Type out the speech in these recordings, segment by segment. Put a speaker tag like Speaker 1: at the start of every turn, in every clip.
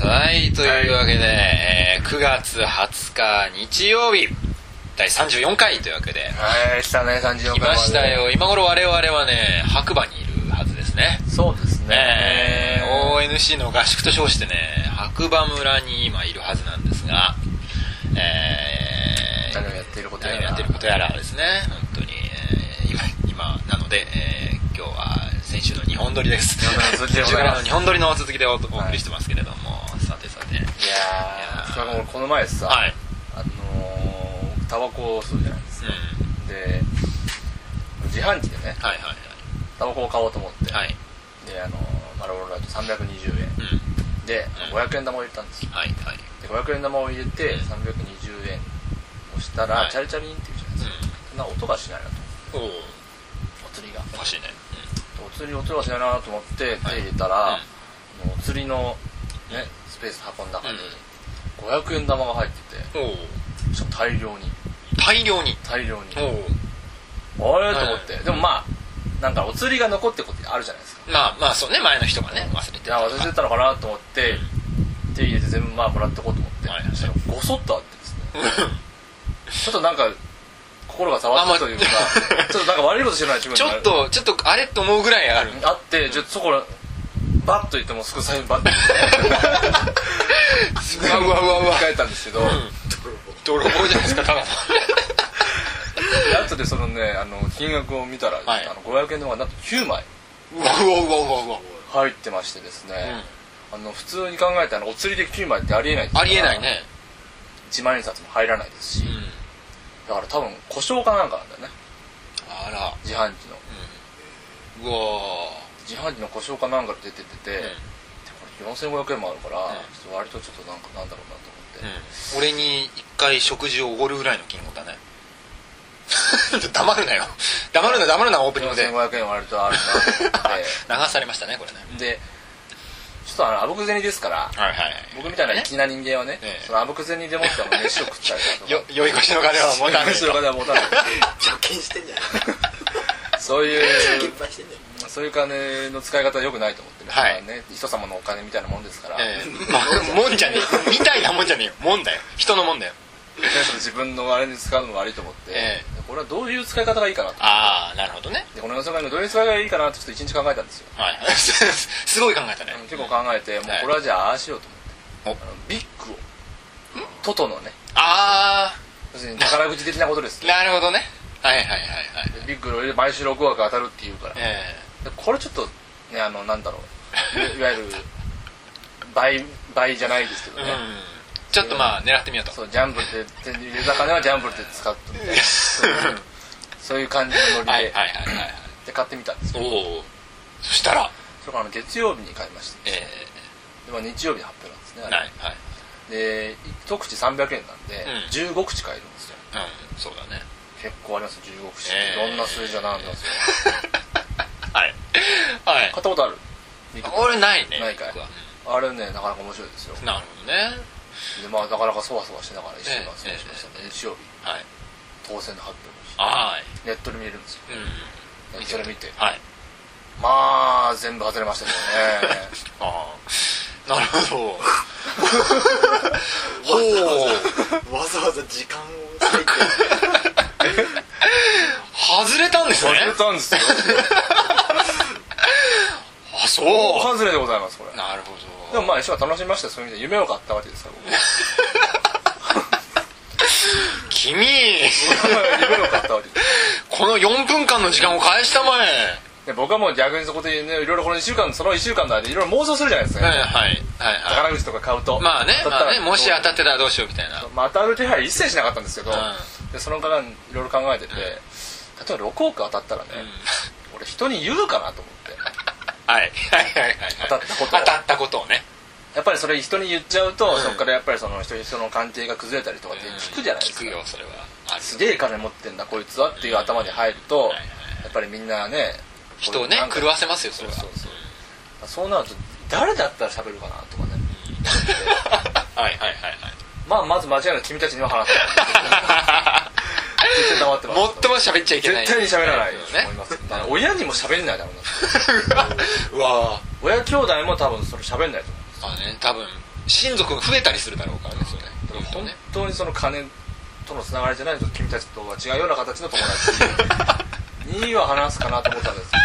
Speaker 1: はい、というわけで、えー9月20日日曜日、第34回というわけで、
Speaker 2: はい、したね、34回
Speaker 1: いましたよ。今頃我々はね、白馬にいるはずですね。
Speaker 2: そうですね。
Speaker 1: ねえ、ONC の合宿と称してね、白馬村に今いるはずなんですが、えー
Speaker 2: 何をやっていることやら
Speaker 1: 何をやっていることやらですね、本当に、えー今、今なので、えー今日は先週の日本撮りです。
Speaker 2: 日本撮りの続き
Speaker 1: 中
Speaker 2: でござい
Speaker 1: から
Speaker 2: ま
Speaker 1: の
Speaker 2: す
Speaker 1: 日本撮りの続きでおお送りしてますけれども、さてさて、
Speaker 2: いやー、しかも俺この前さ、
Speaker 1: はい、
Speaker 2: あのー、タバコを吸うじゃないです
Speaker 1: うん、
Speaker 2: か。で、自販機でね、
Speaker 1: はいはい
Speaker 2: タバコを買おうと思って、
Speaker 1: はい、はい、
Speaker 2: で、あのー、マルボロライト320円
Speaker 1: うん、
Speaker 2: で
Speaker 1: うん、
Speaker 2: 500円玉を入れたんですよ。
Speaker 1: はいはい、
Speaker 2: で、500円玉を入れて、320円をしたら、
Speaker 1: はい
Speaker 2: チャリチャリンって言うじゃないですか。そんな音がしないなと。
Speaker 1: うん、おお、
Speaker 2: お釣りが。
Speaker 1: おかしいね、
Speaker 2: お釣り音がしないなと思って手
Speaker 1: はい
Speaker 2: 入れたら、
Speaker 1: うん
Speaker 2: あのお釣りの、ね、スペース箱の中に
Speaker 1: うん
Speaker 2: 500円玉が入ってて
Speaker 1: うん、おお、
Speaker 2: しかも大量に
Speaker 1: 大量に、
Speaker 2: 大量に
Speaker 1: おお、
Speaker 2: あれと思って、でもまあなんかお釣りが残ってることあるじゃないですか
Speaker 1: まあまあそうね、前の人がね、忘れて
Speaker 2: いや忘れてたのかなと思って手入れて全部まあもらってこうと思って、
Speaker 1: はいはい
Speaker 2: そしたらごそっとあってですねちょっとなんか心が触ったというか、
Speaker 1: あまあ
Speaker 2: ちょっとなんか悪いことしてない自分
Speaker 1: ちょ
Speaker 2: が
Speaker 1: っと、ちょっと、あれと思うぐらいある。
Speaker 2: あってちょっとそこらバッと言ってもすぐ財布 バッと
Speaker 1: うわうわう わうわ。
Speaker 2: 控えたんですけど、
Speaker 1: 泥棒じゃないですか、ただ の。
Speaker 2: で後でそのねあの金額を見たら、
Speaker 1: はい
Speaker 2: あの500円の方がなんと9枚
Speaker 1: うわうわうわうわうわ。
Speaker 2: 入ってましてですね、あの普通に考えたらお釣りで9枚ってありえないですから
Speaker 1: ありえないね。
Speaker 2: 1万円札も入らないですし、
Speaker 1: うん
Speaker 2: だ。から多分故障かなんかなんだよね
Speaker 1: あら。
Speaker 2: 自販機の
Speaker 1: うわ
Speaker 2: 自販機の故障かなんかで出ててて、
Speaker 1: うん
Speaker 2: でこれ4500円もあるから、
Speaker 1: うん
Speaker 2: ちょっと割とちょっとなんかなんだろうなと思っ
Speaker 1: う
Speaker 2: て、
Speaker 1: ん。俺に一回食事をおごるぐらいの金額だね。 黙るなよ。黙るな、黙るな、オープニングで。流
Speaker 2: 4500円割 とあるなと思っ
Speaker 1: されましたね、これね。
Speaker 2: て でちょっとあのあぶく銭ですから
Speaker 1: はいはい。
Speaker 2: 僕みたいな粋な人間はね
Speaker 1: ええ
Speaker 2: そのあぶく銭でもっても飯を食ったりだと か
Speaker 1: よ、良い腰の金はもうダメ
Speaker 2: 後ろから持たない
Speaker 3: 貯金してんじゃない
Speaker 2: そ うい
Speaker 3: 金
Speaker 2: う
Speaker 3: 配してんじゃ
Speaker 2: そういう金の使い方は良くないと思ってる、
Speaker 1: はい
Speaker 2: まあね、人様のお金みたいなもんですから、
Speaker 1: ええまあ、もんじゃねえ。みたいなもんじゃねえよ。もんだよ。人のもんだよ。
Speaker 2: ねその自分のあれに使うのも悪いと思って、
Speaker 1: え
Speaker 2: これはどういう使い方がいいかなと
Speaker 1: ああ、なるほどね。
Speaker 2: でこの世の中にどういう使い方がいいかなってちょっと一日考えたんですよ、
Speaker 1: はい。 すごい考えたね。
Speaker 2: 結構考えてもう
Speaker 1: はい
Speaker 2: これはじゃあああしようと
Speaker 1: お
Speaker 2: 思って、あのビッグをトトのね
Speaker 1: あ
Speaker 2: 要するに宝くじ的なことです
Speaker 1: あ、
Speaker 2: ね
Speaker 1: なるほどね。はいはいはいはい。
Speaker 2: でビッグを毎週6枠当たるっていうから、
Speaker 1: え
Speaker 2: でこれちょっとねあのなんだろういいわゆる倍倍じゃないですけど
Speaker 1: え
Speaker 2: ね、
Speaker 1: うん。ちょっとまあ、狙ってみようと。
Speaker 2: そうジャンブルで手に入れた金はジャンブルで使ったみたいな そういう感じのノリで,、
Speaker 1: はいはいはいはい。
Speaker 2: で買ってみたんですけど
Speaker 1: おお。そしたら、
Speaker 2: それからあの月曜日に買いまして
Speaker 1: え
Speaker 2: で、まあ、日曜日に発表なんですね
Speaker 1: え
Speaker 2: あれ
Speaker 1: はいはい。
Speaker 2: で一口300円なんで、15口買えるんですよ
Speaker 1: うん、そうだね。
Speaker 2: 結構ありますよ15口って、
Speaker 1: ええ
Speaker 2: どんな数字なんですよ
Speaker 1: はい。はい
Speaker 2: 買。ったことある
Speaker 1: 俺ないね。
Speaker 2: ないかい
Speaker 1: 僕は
Speaker 2: あれねなかなか面白いですよ
Speaker 1: なるほどね。
Speaker 2: でまあなかなかそわそわしながら一週間過ごし
Speaker 1: ええ
Speaker 2: ましたね、日曜日
Speaker 1: はい。
Speaker 2: 当選の発表もし
Speaker 1: は
Speaker 2: ネットで見れるんですよ
Speaker 1: い。うん。
Speaker 2: ネットで見て
Speaker 1: はい。
Speaker 2: まあ全部外れましたけど ね
Speaker 1: ああ。なる ほど。ほ
Speaker 3: ないわざわざ時間を割いて
Speaker 1: う。外れたんですね
Speaker 2: 外。れた んですよ
Speaker 1: あ、そう。
Speaker 2: 大外れでございますこれ
Speaker 1: なるほ
Speaker 2: で
Speaker 1: ど。
Speaker 2: もまあ一緒は楽しみましたよそういう意味で夢を買ったわけですから僕
Speaker 1: 君、
Speaker 2: 夢を買ったわけです
Speaker 1: この4分間の時間を返したまえ。
Speaker 2: で僕はもう逆にそこでねいろいろこの一週間その1週間の間でいろいろ妄想するじゃないです
Speaker 1: はい
Speaker 2: か、
Speaker 1: はい。はいはい。
Speaker 2: 宝くじとか買うと
Speaker 1: まあね、
Speaker 2: だった
Speaker 1: まあ
Speaker 2: ら
Speaker 1: ね、もし当たってたらどうしようみたいな。
Speaker 2: まあ、当たる気配一切しなかったんですけど、
Speaker 1: う
Speaker 2: でその間いろいろ考えてて、例えば6億当たったらね、俺人に言うかなと思って
Speaker 1: はい。はいはいはい。
Speaker 2: 当たったことを
Speaker 1: 当たったことをね。
Speaker 2: やっぱりそれ人に言っちゃうと、
Speaker 1: ん
Speaker 2: そこからやっぱりその人人の関係が崩れたりとかって聞くじゃないですか、
Speaker 1: 聞くよ、それは。ある
Speaker 2: すげえ金持ってんだこいつはっていう頭に入ると、
Speaker 1: いはい
Speaker 2: やっぱりみんなね
Speaker 1: 人をね
Speaker 2: なん、か
Speaker 1: 狂わせますよ、それは。
Speaker 2: そうそうそうそうなると誰だったら喋るかなとかね
Speaker 1: はいはいはい
Speaker 2: まあまず間違いなく君たちには 話さない絶対黙ってま
Speaker 1: はい。
Speaker 2: す
Speaker 1: もっとも喋っちゃいけない。
Speaker 2: 絶対に喋らない
Speaker 1: よ
Speaker 2: と思います、だから親にも喋れないだろうな
Speaker 1: ね。うわ
Speaker 2: 親兄弟も多分それ喋んないと思
Speaker 1: まあね、多分、親族が増えたりするだろうからですよねそういうと
Speaker 2: 本
Speaker 1: ね
Speaker 2: 当にその金とのつながりじゃないと君たちとは違うような形の友達には話すかなと思ったんですけ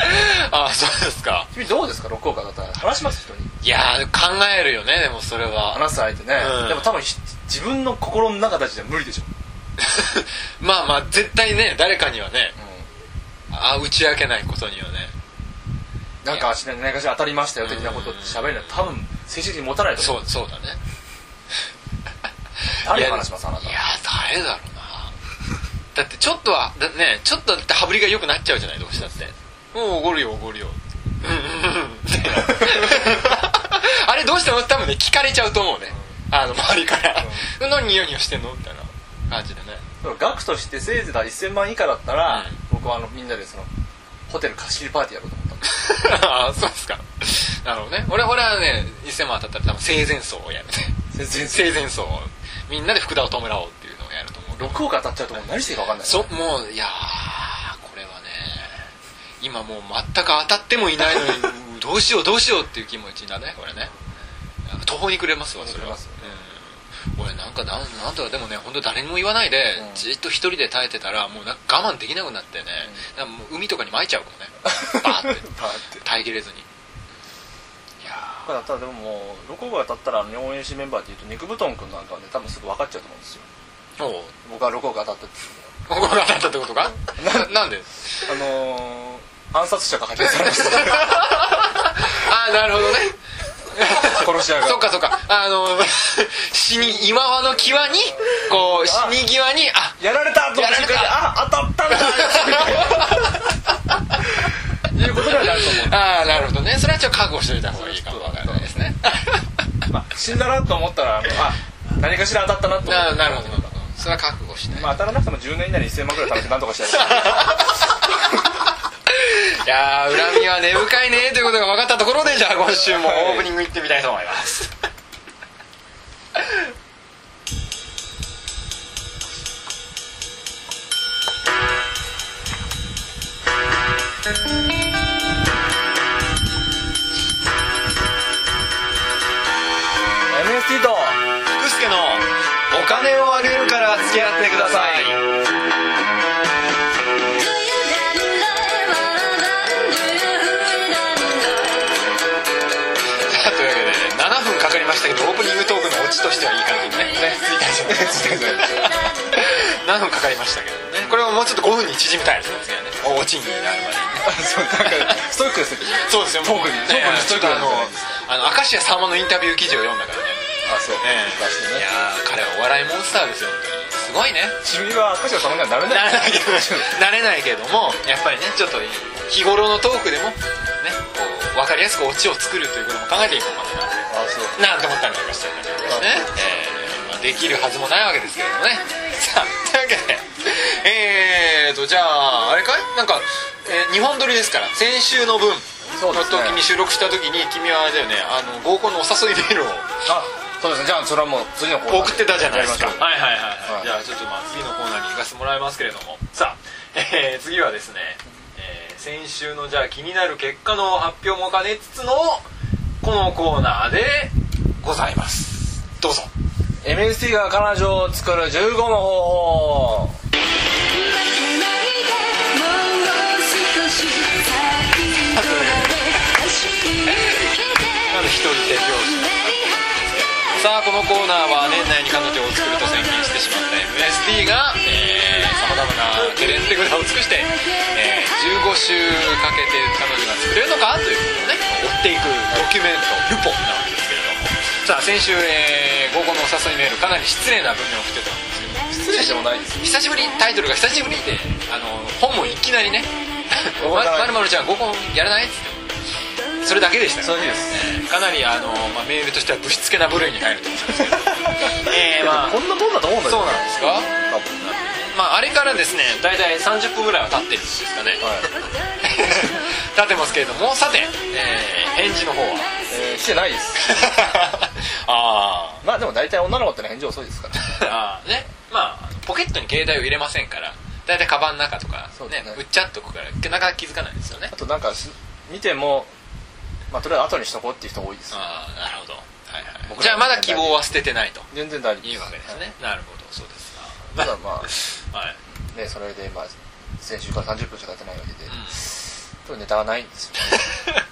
Speaker 2: ど
Speaker 1: ああそうですか
Speaker 2: 君どうですか六岡だったら話します人に
Speaker 1: いやー考えるよねでもそれは
Speaker 2: 話す相手ね、
Speaker 1: うん
Speaker 2: でも多分ひ自分の心の中たちでは無理でしょ、
Speaker 1: まあまあ絶対ね誰かにはねあー打ち明けないことにはね
Speaker 2: なんかあし何かしら当たりましたよ的なことって喋るのは多分精神的に持たないと思う
Speaker 1: そうそうだね
Speaker 2: 誰に話しますあないた
Speaker 1: やー誰だろうなだってちょっとはだねちょっとだって羽振りが良くなっちゃうじゃないどうしたってうんおごるよおごるようんうん うんみたいなあれどうしても多分ね聞かれちゃうと思うねあの周りから「うん、何ニヤニヤしてんの?」みたいな感じでね
Speaker 2: 額としてせいぜいだ1000万以下だったら、
Speaker 1: うん
Speaker 2: 僕はあのみんなでそのホテル貸し切りパーティーやろうと思ったんです
Speaker 1: ああそうですかなるほどね俺俺はね1000万当たったら多分生前葬をやるね
Speaker 2: 全然
Speaker 1: 生前葬をみんなで福田を弔おうっていうのをやると思う
Speaker 2: 6億当たっちゃうともう何していいか分かんない
Speaker 1: そもういやーこれはね今もう全く当たってもいないのに うんどうしようどうしようっていう気持ちだねこれね途方に暮れますわそれは、
Speaker 2: 途方に
Speaker 1: うん、俺なんかなんなんだろうでもね本当誰にも言わないで、
Speaker 2: うん
Speaker 1: じっと一人で耐えてたらもうなんか我慢できなくなってね、だからもう海とかに撒いちゃうかもね バーって
Speaker 2: パーって
Speaker 1: 耐えきれずにいや
Speaker 2: ただただでももう6億当たったらあの応援しメンバーでいうと肉布団君なんかはね多分すぐ分かっちゃうと思うんですよ
Speaker 1: ーおう
Speaker 2: 僕は6億当たったっていうのは
Speaker 1: 心が当たったってことかな なんで
Speaker 2: あのー、暗殺者が発見されました
Speaker 1: ああなるほどね
Speaker 2: 殺し屋が
Speaker 1: そっかそっかあの 死に今はの際にこう死に際にあ
Speaker 2: やられたと思
Speaker 1: や
Speaker 2: って
Speaker 1: られた
Speaker 2: あ当たったんだみたいないうことにはなると思
Speaker 1: ああなるほどねそれはちょっと覚悟しておいた方がいいかもわからないですね
Speaker 2: う、 まあ、死んだなと思ったらあのあ何かしら当たったなと思っ
Speaker 1: な
Speaker 2: て
Speaker 1: なるほどなるほどそれは覚悟しない、
Speaker 2: まあ、当たらなくても10年以内に1000万くらい貯めて何とか したい
Speaker 1: いやー恨みは根深いねということが分かったところでじゃあ今週もオープニング行ってみたいと思います
Speaker 2: と
Speaker 1: 福助の「お金をあげるから付き合ってください」さあというわけで、ね、7分かかりましたけどオープニングトークのオチとしてはいい感じにねねついたじゃないですか7分かかりましたけどねこれをもうちょっと5分に縮めたいですね次はねおオチになるまで
Speaker 2: そうなんかストイックですね
Speaker 1: そうですよトークに
Speaker 2: トークに
Speaker 1: ちょっ
Speaker 2: ト
Speaker 1: と
Speaker 2: ークに
Speaker 1: あのあの明石家さんまのインタビュー記事を読んだからね
Speaker 2: あそう、
Speaker 1: ええ
Speaker 2: 出して
Speaker 1: い
Speaker 2: ね
Speaker 1: やー彼はお笑いモンスターですよ本当にすごいね
Speaker 2: 君は明石家さんまにはなれ
Speaker 1: な
Speaker 2: ない
Speaker 1: れないけどなれないけどもやっぱりねちょっと日頃のトークでもねこう分かりやすくオチを作るということも考えていこうかなと
Speaker 2: あそう
Speaker 1: なんて思ったりなんかしてるんだけどね、えーまあできるはずもないわけですけれどもねさあというわけでえーとじゃああれかいなんか、え2本撮りですから先週の分
Speaker 2: そ
Speaker 1: の
Speaker 2: うですね
Speaker 1: 時に収録した時に君はあれだよねあの合コンのお誘いメールを
Speaker 2: あそうですねじゃあそれはもう次のコーナー
Speaker 1: 送ってたじゃないですか
Speaker 2: や
Speaker 1: は
Speaker 2: り
Speaker 1: い
Speaker 2: ましょう
Speaker 1: はいはい、
Speaker 2: は
Speaker 1: はいい、じゃあちょっとまあ次のコーナーに行かせてもらいますけれどもさあ、 えー次はですね、えー先週のじゃあ気になる結果の発表も兼ねつつのこのコーナーでございますどうぞ
Speaker 2: MST が彼女を作る15の方法
Speaker 1: まず一人で拍子さあこのコーナーは年内に彼女を作ると宣言してしまった MSD がさまざまなゲレンテ札を尽くして、えー15週かけて彼女が作れるのかということをね追っていくドキュメントルポなわけですけれどもさあ先週、えー、午後のお誘いメールかなり失礼な文面を送ってたんですけど
Speaker 2: 失礼でもないです
Speaker 1: 久しぶりにタイトルが久しぶりであの本もいきな りね「
Speaker 2: わ
Speaker 1: ま
Speaker 2: から
Speaker 1: まるま
Speaker 2: ない
Speaker 1: るちゃん合コンやらない?」っつってそれだけでした
Speaker 2: そうです
Speaker 1: かなりあの、まあ、メールとしてはぶしつけな部類に入る と思うんですけどええまあ
Speaker 2: こんなもんだと思うんだけど
Speaker 1: そうなんですか
Speaker 2: 多分
Speaker 1: まああれからですね大体30分ぐらいは経ってるんですかね、
Speaker 2: はい
Speaker 1: 経ってますけれどもさて、えー 返事の方 は
Speaker 2: えー、してないです
Speaker 1: あ
Speaker 2: まあでも大体女の子ってね返事遅いですから
Speaker 1: ー あーねまああのポケットに携帯を入れませんから大体カバンの中とか
Speaker 2: そうで
Speaker 1: ね
Speaker 2: すね
Speaker 1: うっちゃっとくからなかなか気づかないですよね
Speaker 2: あとなんかし見てもまあとりあえず後にしとこうっていう人多いです
Speaker 1: ああなるほどはいはい
Speaker 2: 僕ら
Speaker 1: じゃあまだ希望は捨ててないと
Speaker 2: 全然大丈夫
Speaker 1: いいわけですね、なるほどそうです
Speaker 2: た だま
Speaker 1: かはい
Speaker 2: あねそれでまあ先週から30分しか経ってないわけで、
Speaker 1: ん
Speaker 2: 今日ネタがないんですよね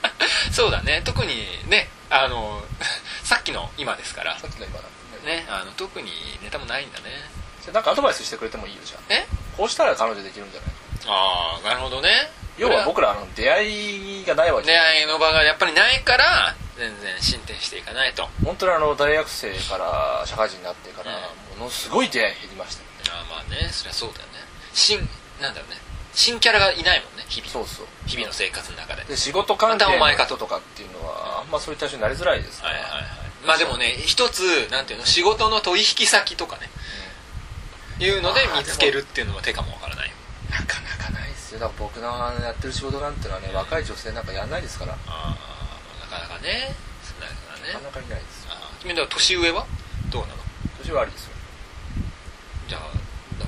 Speaker 1: そうだね特にねあの さっきの今ですから
Speaker 2: さっきの今なんでね
Speaker 1: ねあの特にネタもないんだね
Speaker 2: じゃあなんかアドバイスしてくれてもいいよじゃあ
Speaker 1: え
Speaker 2: こうしたら彼女できるんじゃない
Speaker 1: ああなるほどね
Speaker 2: 要は僕らあの出会いがないわけ
Speaker 1: 出会いの場がやっぱりないから全然進展していかないとあ
Speaker 2: 本当にあの大学生から社会人になってから
Speaker 1: う
Speaker 2: ものすごい出会い減りましたよね
Speaker 1: あまあねそりゃそうだよね新なんだろうね新キャラがいないもんね日々
Speaker 2: そうそう
Speaker 1: 日々の生活の中で
Speaker 2: で仕事関係
Speaker 1: またお前
Speaker 2: の
Speaker 1: か
Speaker 2: 人とかっていうのはあんまそういった人になりづらいですか
Speaker 1: はい
Speaker 2: ら
Speaker 1: はいはいまあでもね一つなんていうの仕事の取引先とかねいうので
Speaker 2: あー
Speaker 1: 見つけるっていうのは手かもわからない
Speaker 2: なかなかないですよだから僕のやってる仕事なんてのはね若い女性なんかやんないですからな
Speaker 1: ああなかなかねなかな
Speaker 2: か
Speaker 1: かね
Speaker 2: なかいないですよ
Speaker 1: あー君だから年上はどうなの
Speaker 2: 年はありですよ
Speaker 1: じゃあ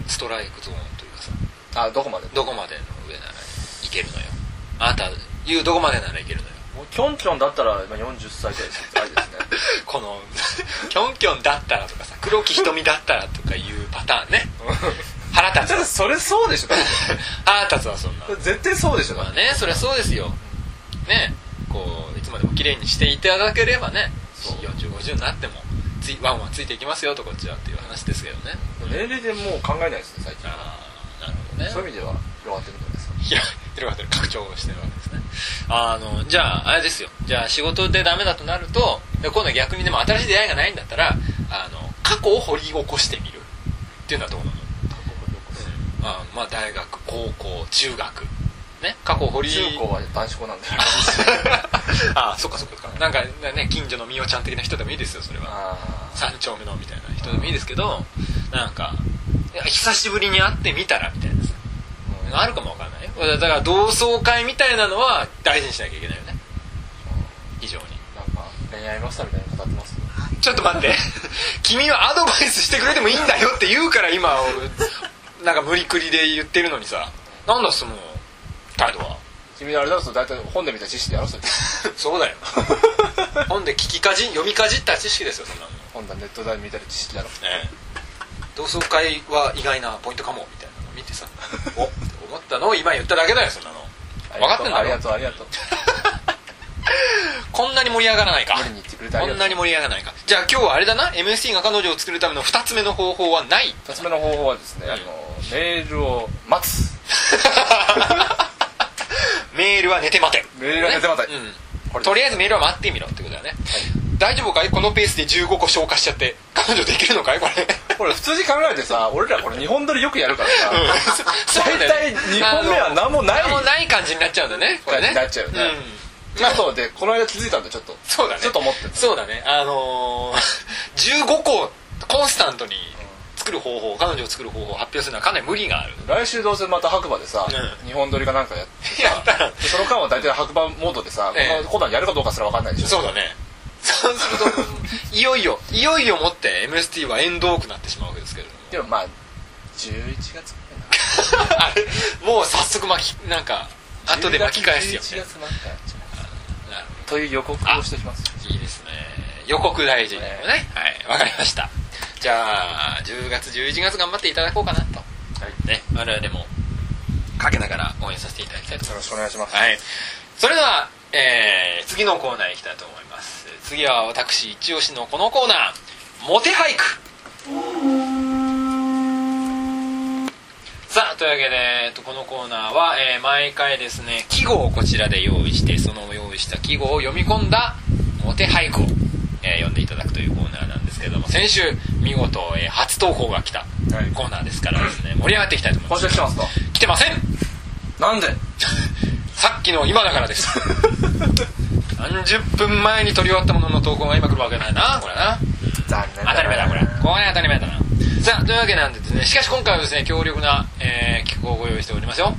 Speaker 1: ストライクゾーンというかさ
Speaker 2: あどこまで
Speaker 1: どこまでの上ならいけるのよあなた言うどこまでならいけるのよ
Speaker 2: もうキョンキョンだったら今40歳ぐらいですありですね
Speaker 1: このキョンキョンだったらとかさ黒木瞳だったらとかいうパターンね腹立
Speaker 2: だって
Speaker 1: つ
Speaker 2: それそうでしょだって
Speaker 1: 腹立つわそんな
Speaker 2: 絶対そうでしょだ
Speaker 1: まあ
Speaker 2: って
Speaker 1: ねそりゃそうですよねこういつまでも綺麗にしていただければね
Speaker 2: そう
Speaker 1: 4050になってもついワンワンついていきますよとこっちはっていう話ですけどね
Speaker 2: 年齢でもう考えないですね最近
Speaker 1: ああなるほどね
Speaker 2: そういう意味では広がってるんじゃないですか
Speaker 1: 広がってる拡張をしてるわけですねあのじゃああれですよじゃあ仕事でダメだとなるとで今度は逆にでも新しい出会いがないんだったらあの過去を掘り起こしてみるっていうのはどうなのあまあ大学高校中学ね過去を掘り
Speaker 2: 中高は男子校なんで
Speaker 1: あそっかそっかそっかなんかね近所のみおちゃん的な人でもいいですよそれは
Speaker 2: ああ
Speaker 1: 三丁目のみたいな人でもいいですけどなんかいや久しぶりに会ってみたらみたいなさあるかもわかんないよだから同窓会みたいなのは大事にしなきゃいけないよね非常に
Speaker 2: なんか恋愛マスターみたいに語ってますよ
Speaker 1: ちょっと待って 君はアドバイスしてくれてもいいんだよって言うから今俺なんか無理くりで言ってるのにさなんだその態度は
Speaker 2: 君あれだと大体本で見た知識でやろそれ
Speaker 1: そう だよ本で聞きかじ読みかじった知識ですよそんなの
Speaker 2: 本だネットで見たり知識だろ
Speaker 1: ね同窓会は意外なポイントかもみたいなのを見て さおって思ったのを今言っただけだよそんなの分かってん
Speaker 2: あ
Speaker 1: だ
Speaker 2: り
Speaker 1: ろ
Speaker 2: がとうありがと う
Speaker 1: こんなに盛り上がらないか
Speaker 2: 無理に言ってくれてあ
Speaker 1: こ
Speaker 2: りがとうん
Speaker 1: なに盛り上がらないかじゃあ今日はあれだな MST が彼女を作るための2つ目の方法は ない
Speaker 2: 二つ目の方法はですね、あのメールを待つ
Speaker 1: メールは寝て待て
Speaker 2: メールは寝て待て
Speaker 1: ねう
Speaker 2: こ
Speaker 1: ん、
Speaker 2: れ
Speaker 1: とりあえずメールは待ってみろってことだよね、大丈夫かいこのペースで15個消化しちゃって彼女できるのかいこれ
Speaker 2: これ普通に考えてさ俺らこれ日本撮りよくやるからさ、
Speaker 1: 大
Speaker 2: 大体2本目は何もない
Speaker 1: 何もない感じになっちゃうんだよねこれね
Speaker 2: 感じになっちゃうよね
Speaker 1: ん
Speaker 2: あとでこの間気づいたんでちょっと
Speaker 1: そうだね
Speaker 2: ちょっと思って
Speaker 1: そうだねあのー、15個 コンスタントに作る方法彼女を作る方法を発表するのはかなり無理がある
Speaker 2: 来週どうせまた白馬でさ、
Speaker 1: う
Speaker 2: 日本撮りかなん かやって
Speaker 1: やったら
Speaker 2: でその間は大体白馬モードでさ、
Speaker 1: ええ
Speaker 2: このコーナーやるかどうかすら分かんないでしょ
Speaker 1: そうだねそうするといよいよいよいよもって MST は縁遠くなってしまうわけですけれ ども
Speaker 2: でもまあ11月くらいな
Speaker 1: あれもう早速巻きなんか後で巻き返すよ、
Speaker 2: 11
Speaker 1: ね、
Speaker 2: 月なんかやっちゃ
Speaker 1: なるほ
Speaker 2: うという予告をしておきます
Speaker 1: どいいですね予告大事にもね
Speaker 2: え
Speaker 1: はいわかりましたじゃあ10月11月頑張っていただこうかなと
Speaker 2: はい
Speaker 1: ね我々もかけながら応援させていただきたいと思います
Speaker 2: よろしくお願いします、
Speaker 1: はい。それでは、えー次のコーナー行きたいと思います。次は私、一押しのこのコーナー、モテ俳句。さあ、というわけで、えっとこのコーナーは、えー毎回ですね、記号をこちらで用意して、その用意した記号を読み込んだ、モテ俳句を、えー読んでいただくというコーナーなんですけども、先週、見事、えー初投稿が来た
Speaker 2: はい
Speaker 1: コーナーですからですね、盛り上がっていきたいと思いま
Speaker 2: 今
Speaker 1: す。
Speaker 2: 週来てますか
Speaker 1: 来てません
Speaker 2: なんで
Speaker 1: さっきの今だからです30分前に撮り終わったものの投稿が今来るわけないなこれな
Speaker 2: 残念
Speaker 1: 当たり前だこれこれ当たり前だなさあというわけなんでですねしかし今回はですね強力な、えー、企画をご用意しておりますよ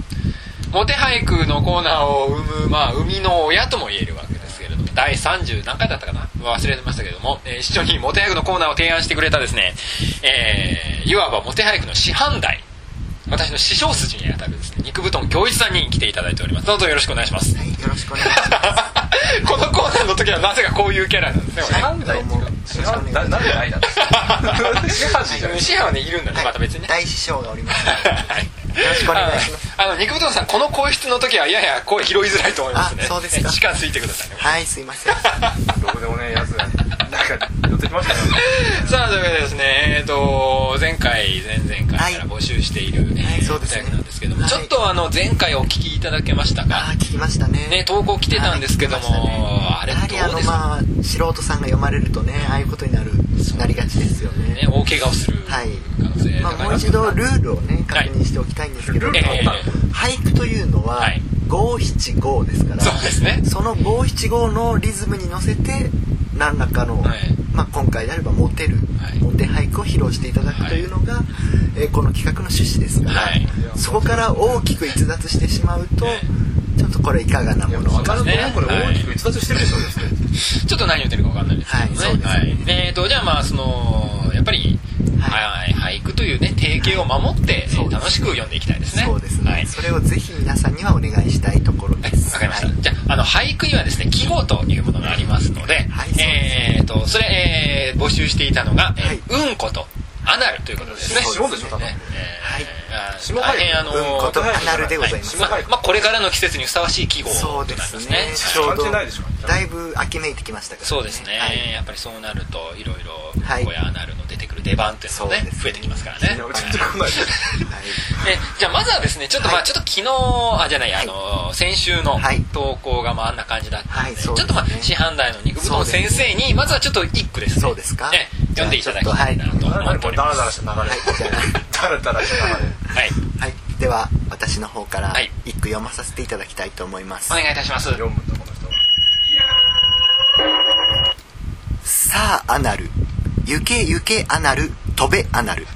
Speaker 1: モテ俳句のコーナーを生むまあ生みの親とも言えるわけですけれども第30何回だったかな忘れてましたけども、えー一緒にモテ俳句のコーナーを提案してくれたですねえーいわばモテ俳句の師範代私の師匠筋にあたるですね肉布団教一さんに来ていただいておりますどうぞよろしくお願いします
Speaker 3: はいよろしくお願いします
Speaker 1: このコーナーの時はなぜかこういうキャラなんですね俺ね
Speaker 2: なんだよ、もう。違う、ななんでない なんですか。シじゃない。
Speaker 1: シェアはねいるんだね
Speaker 3: はい
Speaker 1: また別にね
Speaker 3: 大師匠がおりますよろしくお願いします
Speaker 1: あのあの肉布団さんこの声質の時はやや声拾いづらいと思いますね
Speaker 3: あそうですか
Speaker 1: 近づいてくださいね
Speaker 3: はいすい ません
Speaker 2: どこでもねえやつ が、なんか、寄ってきましたよ。
Speaker 1: さあというわけでですねえっ、と前回前々回から募集している、えー
Speaker 3: はいそうです
Speaker 1: お
Speaker 3: ね
Speaker 1: 便りなんですけども、
Speaker 3: はい
Speaker 1: ちょっとあの前回お聞きいただけました
Speaker 3: あ
Speaker 1: か
Speaker 3: あ聞きましたね
Speaker 1: ね投稿来てたんですけども、
Speaker 3: は
Speaker 1: あ
Speaker 3: い
Speaker 1: れ
Speaker 3: 聞きましたねやは
Speaker 1: どうで
Speaker 3: りあの
Speaker 1: すか、
Speaker 3: まあ素人さんが読まれるとねああいうことになるなりがちですよね
Speaker 1: ね大怪我をする
Speaker 3: はい
Speaker 1: 可能性
Speaker 3: ま
Speaker 1: 高
Speaker 3: あ、
Speaker 1: いな
Speaker 3: もう一度ルールをね確認しておきたいんですけど、
Speaker 2: ルール
Speaker 1: ええ
Speaker 3: 俳句というのは
Speaker 1: はい
Speaker 3: 五七五ですから
Speaker 1: そうですね
Speaker 3: その五七五のリズムに乗せて何らかの、
Speaker 1: はい
Speaker 3: まあ、今回であればモテる、
Speaker 1: はい
Speaker 3: モテ俳句を披露していただくというのが、えーこの企画の趣旨ですから、
Speaker 1: はい
Speaker 3: そこから大きく逸脱してしまうと、
Speaker 1: え
Speaker 3: ちょっとこれいかがない
Speaker 2: や、
Speaker 3: もの
Speaker 2: わか
Speaker 3: か
Speaker 2: るとね、これ大きく逸脱してるでしょうですね。
Speaker 1: ちょっと何言ってるか分かんないですけどね,、
Speaker 3: はいそうですね
Speaker 1: えー、とじゃあまあそのやっぱり、は
Speaker 3: はい
Speaker 1: 俳句というね定型を守って、えー
Speaker 3: そうです
Speaker 1: 楽しく読んでいきたいですね
Speaker 3: そうですね、
Speaker 1: はい
Speaker 3: それをぜひ皆さんにはお願いしたいところ
Speaker 1: はい
Speaker 3: です
Speaker 1: わかりました。
Speaker 3: はい
Speaker 1: じゃあ、あの、俳句にはですね、季語というものがありますので、
Speaker 3: はいそうです
Speaker 1: えーと、それ、えー募集していたのが、えーうんこと、アナルということですね。
Speaker 2: そうですね
Speaker 1: ね
Speaker 3: はい
Speaker 1: えーあー
Speaker 2: 下
Speaker 1: 大
Speaker 2: 半期
Speaker 1: 変あのー
Speaker 3: うんことアナルでございま
Speaker 1: は
Speaker 3: す、
Speaker 1: まあまあ、これからの季節にふさわしい季語
Speaker 3: そう
Speaker 1: と
Speaker 3: で
Speaker 1: なり
Speaker 3: す
Speaker 1: ま
Speaker 3: ね
Speaker 1: すね。
Speaker 3: ちょう
Speaker 2: 関係
Speaker 3: ど
Speaker 2: ないでしょ
Speaker 3: だいぶ秋めいてきましたから、
Speaker 1: そうですね、
Speaker 3: はい
Speaker 1: やっぱりそうなると、いろいろ、
Speaker 3: はい
Speaker 1: こやアナルの出てくる出番っていうのもね
Speaker 3: そうですね
Speaker 1: 増えてきますからね。
Speaker 2: いや、うちってこないです。
Speaker 3: は
Speaker 1: えじゃあまずはですねちょっとまあ
Speaker 3: はい
Speaker 1: ちょっと昨日あじゃないあの、先週の
Speaker 3: はい
Speaker 1: 投稿がまああんな感じだったの
Speaker 3: はい
Speaker 1: で、
Speaker 3: そう
Speaker 1: ち
Speaker 3: です
Speaker 1: ょっ
Speaker 3: ね
Speaker 1: とまあ師範代の肉ぶどう先生に、まずはちょっと一句ですね
Speaker 3: そうですか
Speaker 1: え読んでいただきたいなと
Speaker 2: だらだ
Speaker 1: 思
Speaker 2: ら
Speaker 1: っており
Speaker 2: ダ
Speaker 1: ま
Speaker 2: ラ
Speaker 1: す
Speaker 2: ダラした流れ。ダラダラした流れ。
Speaker 1: はい、
Speaker 3: い、はい、では私の方から
Speaker 1: はい
Speaker 3: 一句読まさせていただきたいと思います、
Speaker 1: お願いいたします
Speaker 2: 読むんだ、この人は。
Speaker 3: さあアナルゆけゆけアナル飛べアナル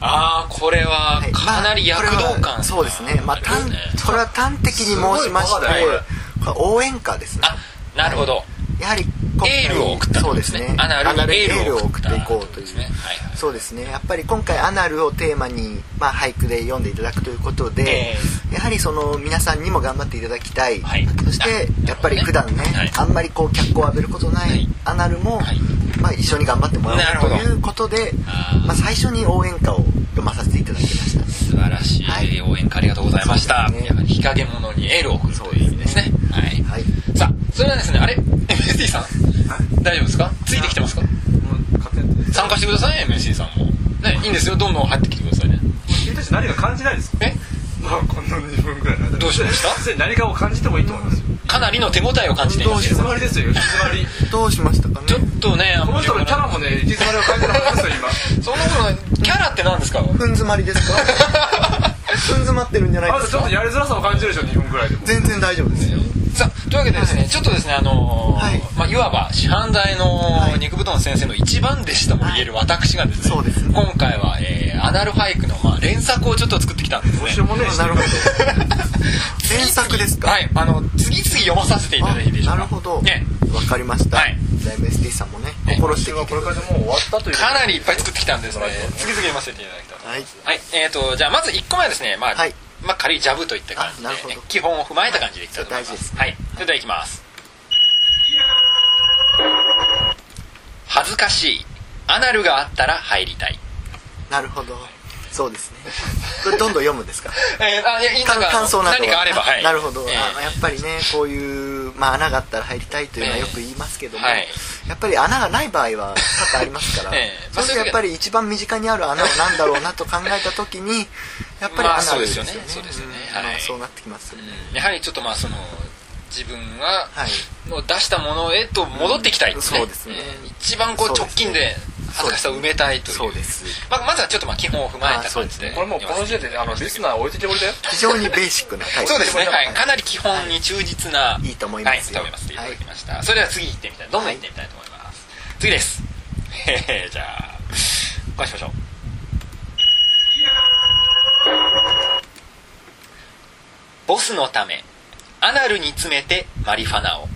Speaker 1: ああこれは
Speaker 3: はい
Speaker 1: かなり躍動感
Speaker 3: まあこれはそうですねまあ
Speaker 1: あり
Speaker 3: 端
Speaker 1: ますね
Speaker 3: それは端的に申しまし
Speaker 2: すごい
Speaker 3: て
Speaker 2: バカだよ
Speaker 3: これは応援歌ですね
Speaker 1: あなるほど、
Speaker 3: やはり今回
Speaker 1: エールを送ったって
Speaker 3: そ
Speaker 1: こと
Speaker 3: う
Speaker 1: で
Speaker 3: ですす
Speaker 1: ね
Speaker 3: ね
Speaker 1: アナルに
Speaker 3: エ
Speaker 1: エー
Speaker 3: ー
Speaker 1: ル
Speaker 3: ル
Speaker 1: を
Speaker 3: を
Speaker 1: 送
Speaker 3: 送
Speaker 1: っ
Speaker 3: ったていこうという
Speaker 1: ですねはいはい
Speaker 3: そうですねやっぱり今回アナルをテーマに、まあ、俳句で読んでいただくということで
Speaker 1: え、
Speaker 3: やはりその皆さんにも頑張っていただきたい、
Speaker 1: はい
Speaker 3: そして
Speaker 1: あ
Speaker 3: やっぱり普段ね、
Speaker 1: はい
Speaker 3: あんまりこう脚光を浴びることない、
Speaker 1: はい
Speaker 3: アナルも、
Speaker 1: はい
Speaker 3: まあ、一緒に頑張ってもら
Speaker 1: なる
Speaker 3: お
Speaker 1: ほ
Speaker 3: う
Speaker 1: ど
Speaker 3: ということで
Speaker 1: あー
Speaker 3: まあ、最初に応援歌を読まさせていただきましたね
Speaker 1: 素晴らし
Speaker 3: はい
Speaker 1: い応援歌ありがとうございました、
Speaker 3: そうです
Speaker 1: や
Speaker 3: ね
Speaker 1: はり日陰者にエールを送るという意味ですね
Speaker 3: そう
Speaker 1: はい、
Speaker 3: はい
Speaker 1: さあそれではですねあれ MSD さん大丈夫ですかついてきてますか
Speaker 2: もう勝手に。
Speaker 1: 参加してください MSD さんもねいいんですよどんどん入ってきてくださいね
Speaker 2: 君たち何か感じないですか
Speaker 1: え
Speaker 2: まあ、こんな2分ぐらいの間
Speaker 1: どうしました
Speaker 2: すでに何かを感じてもいいと思いますよ。
Speaker 1: かなりの手応えを感じていま
Speaker 2: 行き
Speaker 1: すけど
Speaker 2: 詰まりですよ、行き詰まり。
Speaker 3: どうしましたかね
Speaker 1: ちょっとねあ
Speaker 2: この人のキャラもね、行き詰まりを感じなかったですよ、今。
Speaker 1: その頃キャラって何ですか
Speaker 3: ふん詰まりで すかふん詰まってるんじゃない
Speaker 2: あ
Speaker 3: で
Speaker 2: と
Speaker 3: す
Speaker 2: ちょっ
Speaker 3: か
Speaker 2: とやりづらさを感じるでしょ2分ぐらいでも
Speaker 3: 全然大丈夫ですよ
Speaker 1: さあというわけでですね、ちょっとですねあのー
Speaker 3: はい
Speaker 1: まあ、いわば師範代の
Speaker 3: い
Speaker 1: 肉布団先生の一番弟子とも言える私がですね,、
Speaker 3: そうですね
Speaker 1: 今回は、えーアナル俳句の、まあ、連作をちょっと作ってきたんです
Speaker 2: どう
Speaker 1: ね
Speaker 2: しようもねえし
Speaker 3: なるほど前作ですか
Speaker 1: はいあの次々読まさせていただいていいでしょう
Speaker 3: な
Speaker 1: か
Speaker 3: るほど、
Speaker 1: ね
Speaker 3: わかりました、
Speaker 1: はい
Speaker 3: じゃあ MSD さんもね心
Speaker 2: 今
Speaker 3: して
Speaker 2: 週
Speaker 3: 聞
Speaker 2: はい
Speaker 3: て
Speaker 2: これからでもう終わったという
Speaker 1: かなりいっぱい作ってきたんですね
Speaker 2: はい
Speaker 1: 次々読ませていただきたいと思いますは
Speaker 3: はい
Speaker 1: い、えー、とじゃあまず1個目はですね、まあ
Speaker 3: はい
Speaker 1: まあ、軽いジャブといった感じで
Speaker 3: あなるほど
Speaker 1: 基本を踏まえた感じでいきたいと思います,、
Speaker 3: そ
Speaker 1: はい、それではいきます恥ずかしいアナルがあったら入りたい
Speaker 3: なるほどそうです ねこれどんどん読むんですか
Speaker 1: えー、あいや今
Speaker 3: 感
Speaker 1: が
Speaker 3: 感想などは
Speaker 1: 何かあればはい
Speaker 3: なるほど、
Speaker 1: えー
Speaker 3: あやっぱりねこういう、まあ、穴があったら入りたいというのはよく言いますけども、
Speaker 1: ええはい
Speaker 3: やっぱり穴がない場合は多々ありますか ら、
Speaker 1: ええま
Speaker 3: そ
Speaker 1: あ
Speaker 3: してやっぱり一番身近にある穴は何だろうなと考えた時 にやっぱり
Speaker 1: まあ
Speaker 3: 穴が
Speaker 1: そうですよねそうですよね
Speaker 3: うんまあ
Speaker 1: はい
Speaker 3: そうなってきますよね、
Speaker 1: うんやはりちょっとまあその自分が
Speaker 3: はい
Speaker 1: の出したものへと戻ってきたい、
Speaker 3: うんそうですね
Speaker 1: えー一番こう直近で恥ずかしさを埋めたいという
Speaker 3: そうです
Speaker 1: まあ、まずはちょっとまあ基本を踏まえた感じで
Speaker 2: これもうこの時点であのリスナー置いてけぼりだよ
Speaker 3: 非常にベーシックなタイプ
Speaker 1: そうですね、はい、
Speaker 3: はい
Speaker 1: かなり基本に忠実な、はい
Speaker 3: いいと思いますよ
Speaker 1: はい、食べますいただきました、それでは次行ってみたいどんどん行ってみたいと思います、次ですへへじゃあお返しましょうボスのためアナルに詰めてマリファナを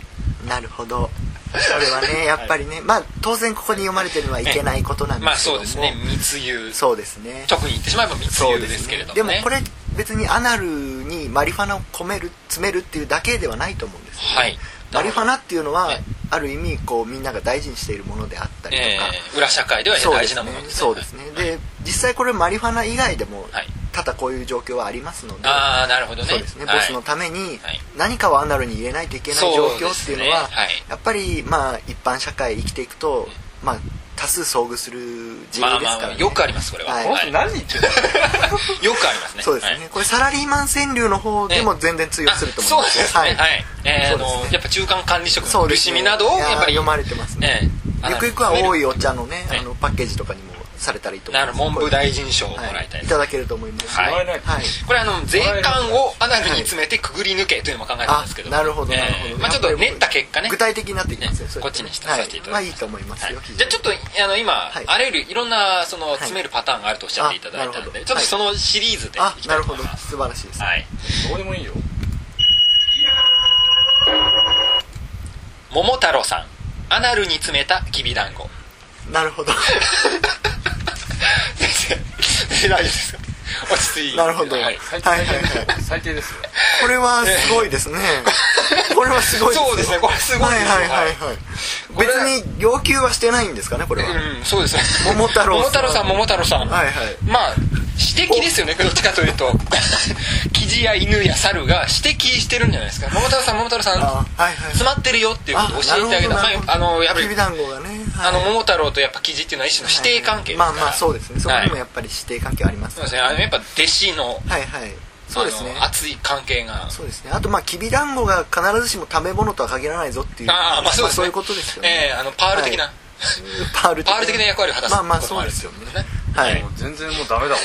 Speaker 3: なるほどそれはねやっぱりね、まあ当然ここに読まれてるのはいけないことなんですけ
Speaker 1: まあそ
Speaker 3: ども、
Speaker 1: うですね密輸
Speaker 3: そうですね
Speaker 1: 特に言ってしまえば密
Speaker 3: そう
Speaker 1: 輸ですけれども、ね、
Speaker 3: でもこれ別にアナルにマリファナを込める詰めるっていうだけではないと思うんですよね、
Speaker 1: はい
Speaker 3: マリファナっていうのは
Speaker 1: え
Speaker 3: ある意味こうみんなが大事にしているものであったりと
Speaker 1: え
Speaker 3: か、
Speaker 1: ー裏社会では
Speaker 3: そうで
Speaker 1: 大
Speaker 3: す
Speaker 1: 事
Speaker 3: ね
Speaker 1: なものですね
Speaker 3: そうですねで実際これマリファナ以外でも
Speaker 1: はい
Speaker 3: 多々こういう状況はありますので、
Speaker 1: ああなるほどね
Speaker 3: そうですね、
Speaker 1: はい
Speaker 3: ボスのために
Speaker 1: はい
Speaker 3: 何かをアナルに入れないといけない
Speaker 1: そう
Speaker 3: 状
Speaker 1: ですね
Speaker 3: 況っていうのは、
Speaker 1: はい
Speaker 3: やっぱりまあ一般社会生きていくと、まあ、多数遭遇する事
Speaker 1: ま
Speaker 3: 例
Speaker 1: あ
Speaker 3: で
Speaker 1: ます
Speaker 3: から、
Speaker 1: あ
Speaker 3: ね
Speaker 1: よくありますこれは、
Speaker 3: はい
Speaker 2: この人何言ってんの
Speaker 1: よくありますね
Speaker 3: そうですね、
Speaker 1: はい
Speaker 3: これサラリーマン川柳の方でも全然通用すると思
Speaker 1: あ
Speaker 3: いま
Speaker 1: そう
Speaker 3: す
Speaker 1: ですねはい、えー
Speaker 3: そうです
Speaker 1: あ
Speaker 3: ね
Speaker 1: のやっぱ中間管理職
Speaker 3: そ
Speaker 1: の
Speaker 3: うで
Speaker 1: 苦
Speaker 3: す
Speaker 1: し
Speaker 3: ね
Speaker 1: みなどを
Speaker 3: いやー
Speaker 1: やっぱり
Speaker 3: 読まれてますね、
Speaker 1: ええ
Speaker 3: ゆくゆくは多いお茶のね、
Speaker 1: はい
Speaker 3: あのパッケージとかにもされたらいいと思い
Speaker 1: な
Speaker 3: ます
Speaker 1: る文部大臣賞をも
Speaker 3: は
Speaker 1: らいたいで
Speaker 3: いい
Speaker 1: す、
Speaker 3: ただけると思います
Speaker 1: はい
Speaker 2: もらえないと
Speaker 3: はい
Speaker 1: これあの税関をアナルに詰めてくぐり抜けというのも考えたん
Speaker 3: あ
Speaker 1: ですけど
Speaker 3: なるほど
Speaker 1: えー
Speaker 3: なるほど、
Speaker 1: まあ、ちょっと練った結果ね
Speaker 3: 具体的になってきますよ、
Speaker 1: ね
Speaker 3: それ
Speaker 1: こっちにしたさせていただきます
Speaker 3: はい、まあいいと思いますよ、
Speaker 1: はい
Speaker 3: 非常に
Speaker 1: じゃあちょっとあの今、
Speaker 3: い
Speaker 1: あらゆるいろんなその
Speaker 3: い
Speaker 1: 詰めるパターンがあるとおっしゃっていただいた
Speaker 3: あな
Speaker 1: の
Speaker 3: るほ
Speaker 1: で、
Speaker 3: ど
Speaker 1: ちょっとそのシリーズで
Speaker 3: あ
Speaker 1: いき
Speaker 3: な
Speaker 1: たい
Speaker 3: る
Speaker 1: と
Speaker 3: ほ
Speaker 1: 思
Speaker 3: ど
Speaker 1: います
Speaker 3: 素晴らしいです、
Speaker 1: はい
Speaker 2: どうでもいいよ
Speaker 1: 桃太郎さんアナルに詰めたきびだんご
Speaker 3: なるほど
Speaker 1: 先生大丈夫ですか落ち着いて
Speaker 3: なるほど
Speaker 1: はい
Speaker 2: 最低
Speaker 3: はいはいはい
Speaker 2: 最低ですよ
Speaker 3: これはすごいですね これはすごいですよ
Speaker 1: そうですねこれすごいですよ
Speaker 3: はいはいはいはい
Speaker 1: これ
Speaker 3: 別に要求はしてないんですかねこれは、
Speaker 1: うんそうですね
Speaker 3: 桃太郎
Speaker 1: 桃
Speaker 3: さ
Speaker 1: 太
Speaker 3: ん
Speaker 1: 郎さん桃太郎さん
Speaker 3: はいはい
Speaker 1: まあ私的ですよねどっちかというと キジや犬や猿が指摘してるんじゃないですか桃太郎さん桃太郎さん
Speaker 3: あはいはい
Speaker 1: 詰まってるよっていうことを教えてあげた
Speaker 3: な
Speaker 1: ま
Speaker 3: るほど
Speaker 1: ああのやっぱり
Speaker 3: きびだんごがね、はい
Speaker 1: あの桃太郎とやっぱキジっていうのは一種の師弟関係ですか
Speaker 3: ま
Speaker 1: ら、
Speaker 3: あまあそうですねそこにも
Speaker 1: はい
Speaker 3: やっぱり師弟関係あります
Speaker 1: そう
Speaker 3: ね
Speaker 1: ですねあのやっぱ弟子の
Speaker 3: はいはいそうですね
Speaker 1: あの熱い関係が
Speaker 3: そうですねあとまあきびだんごが必ずしも食べ物とは限らないぞっていう
Speaker 1: ああまあそうですね、
Speaker 3: そういうことですよね、
Speaker 1: ええあのパール的な、
Speaker 3: はいパール
Speaker 1: パール的な役割を果たす
Speaker 3: まあまあ
Speaker 1: ことも
Speaker 3: そ
Speaker 1: あ
Speaker 3: う
Speaker 1: るっ
Speaker 3: で
Speaker 1: て
Speaker 3: す
Speaker 1: こ
Speaker 3: よ
Speaker 1: と
Speaker 3: ね
Speaker 1: ですね
Speaker 3: はい
Speaker 2: もう全然もうダメだ